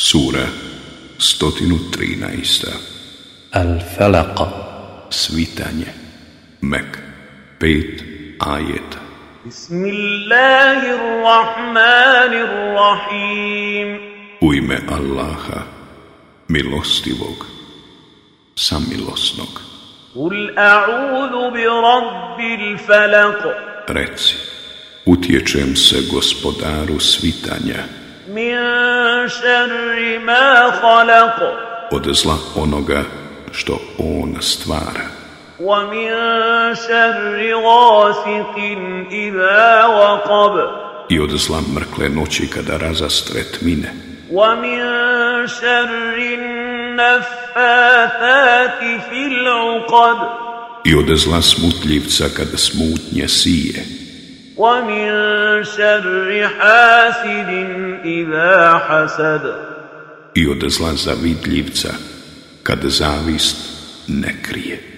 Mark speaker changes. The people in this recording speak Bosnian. Speaker 1: Sura 113.
Speaker 2: الفلق
Speaker 1: Svitanje. Mek. Pet ajeta.
Speaker 3: بسم الله الرحمن الرحيم
Speaker 1: U ime Allaha, milostivog, samilosnog.
Speaker 3: قل أعوذ برب الفلق
Speaker 1: Reci, utječem se gospodaru svitanja
Speaker 3: من شر ما خلق
Speaker 1: od zla onoga što on stvara
Speaker 3: ومن شر غاسق إذا وقب
Speaker 1: i od zla mrkle noći kada razastre tmine
Speaker 3: ومن شر النفاثات في العقد
Speaker 1: i od zla smutljivca kada smutnje sije
Speaker 3: ومن شر حاسد إذا حسد
Speaker 1: i od zla zavidljivca kad zavist ne krije.